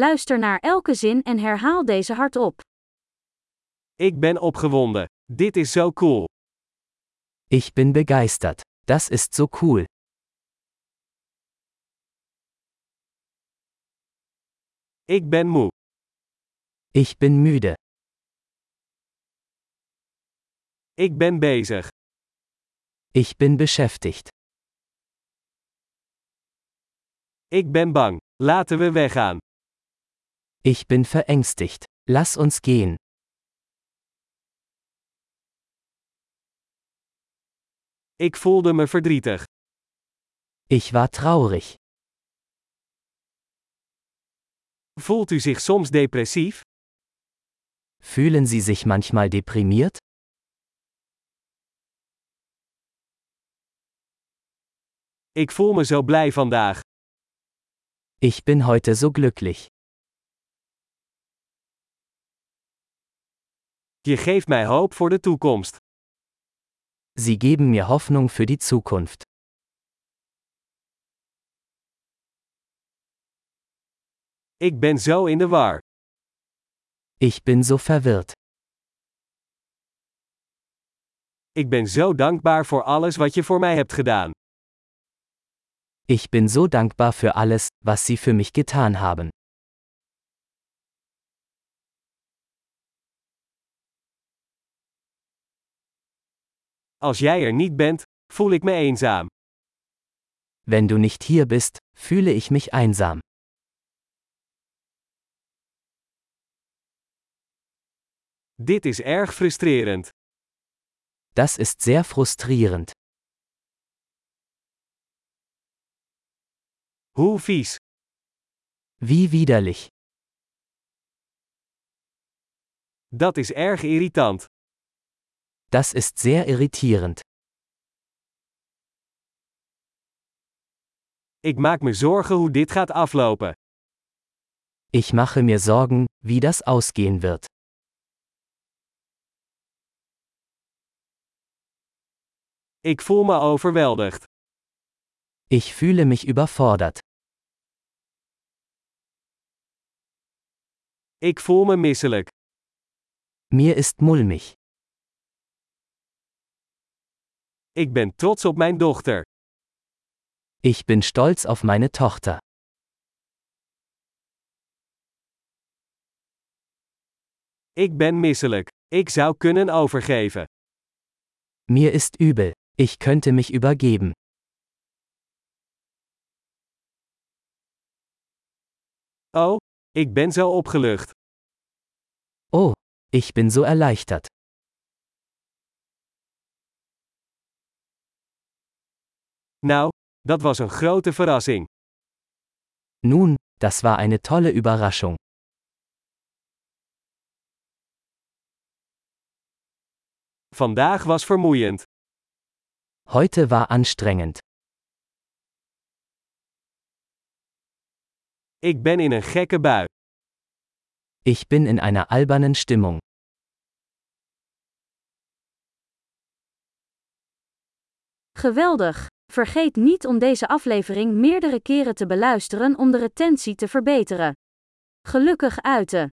Luister naar elke zin en herhaal deze hardop. Ik ben opgewonden. Dit is zo cool. Ich bin begeistert. Das ist so cool. Ik ben moe. Ich bin müde. Ik ben bezig. Ich bin beschäftigt. Ik ben bang. Laten we weggaan. Ich bin verängstigt. Lass uns gehen. Ik voelde me verdrietig. Ich war traurig. Voelt u zich soms depressief? Fühlen Sie sich manchmal deprimiert? Ik voel me zo blij vandaag. Ich bin heute so glücklich. Je geeft mij hoop voor de toekomst. Sie geben mir Hoffnung für die Zukunft. Ik ben zo in de war. Ich bin so verwirrt. Ik ben zo dankbaar voor alles wat je voor mij hebt gedaan. Ich bin so dankbar für alles, was Sie für mich getan haben. Als jij er niet bent, voel ik me eenzaam. Wenn du nicht hier bist, fühle ich mich einsam. Dit is erg frustrerend. Das ist sehr frustrierend. Hoe vies. Wie widerlich. Dat is erg irritant. Das ist sehr irritierend. Ik maak me zorgen hoe dit gaat aflopen. Ich mache mir Sorgen, wie das ausgehen wird. Ik voel me overweldigd. Ich fühle mich überfordert. Ik voel me misselijk. Mir ist mulmig. Ik ben trots op mijn dochter. Ich bin stolz auf meine Tochter. Ik ben misselijk. Ik zou kunnen overgeven. Mir ist übel. Ich könnte mich übergeben. Oh, ik ben zo opgelucht. Oh, ich bin so erleichtert. Nou, dat was een grote verrassing. Nun, das war eine tolle Überraschung. Vandaag was vermoeiend. Heute war anstrengend. Ik ben in een gekke bui. Ich bin in einer albernen Stimmung. Geweldig! Vergeet niet om deze aflevering meerdere keren te beluisteren om de retentie te verbeteren. Gelukkig uiten!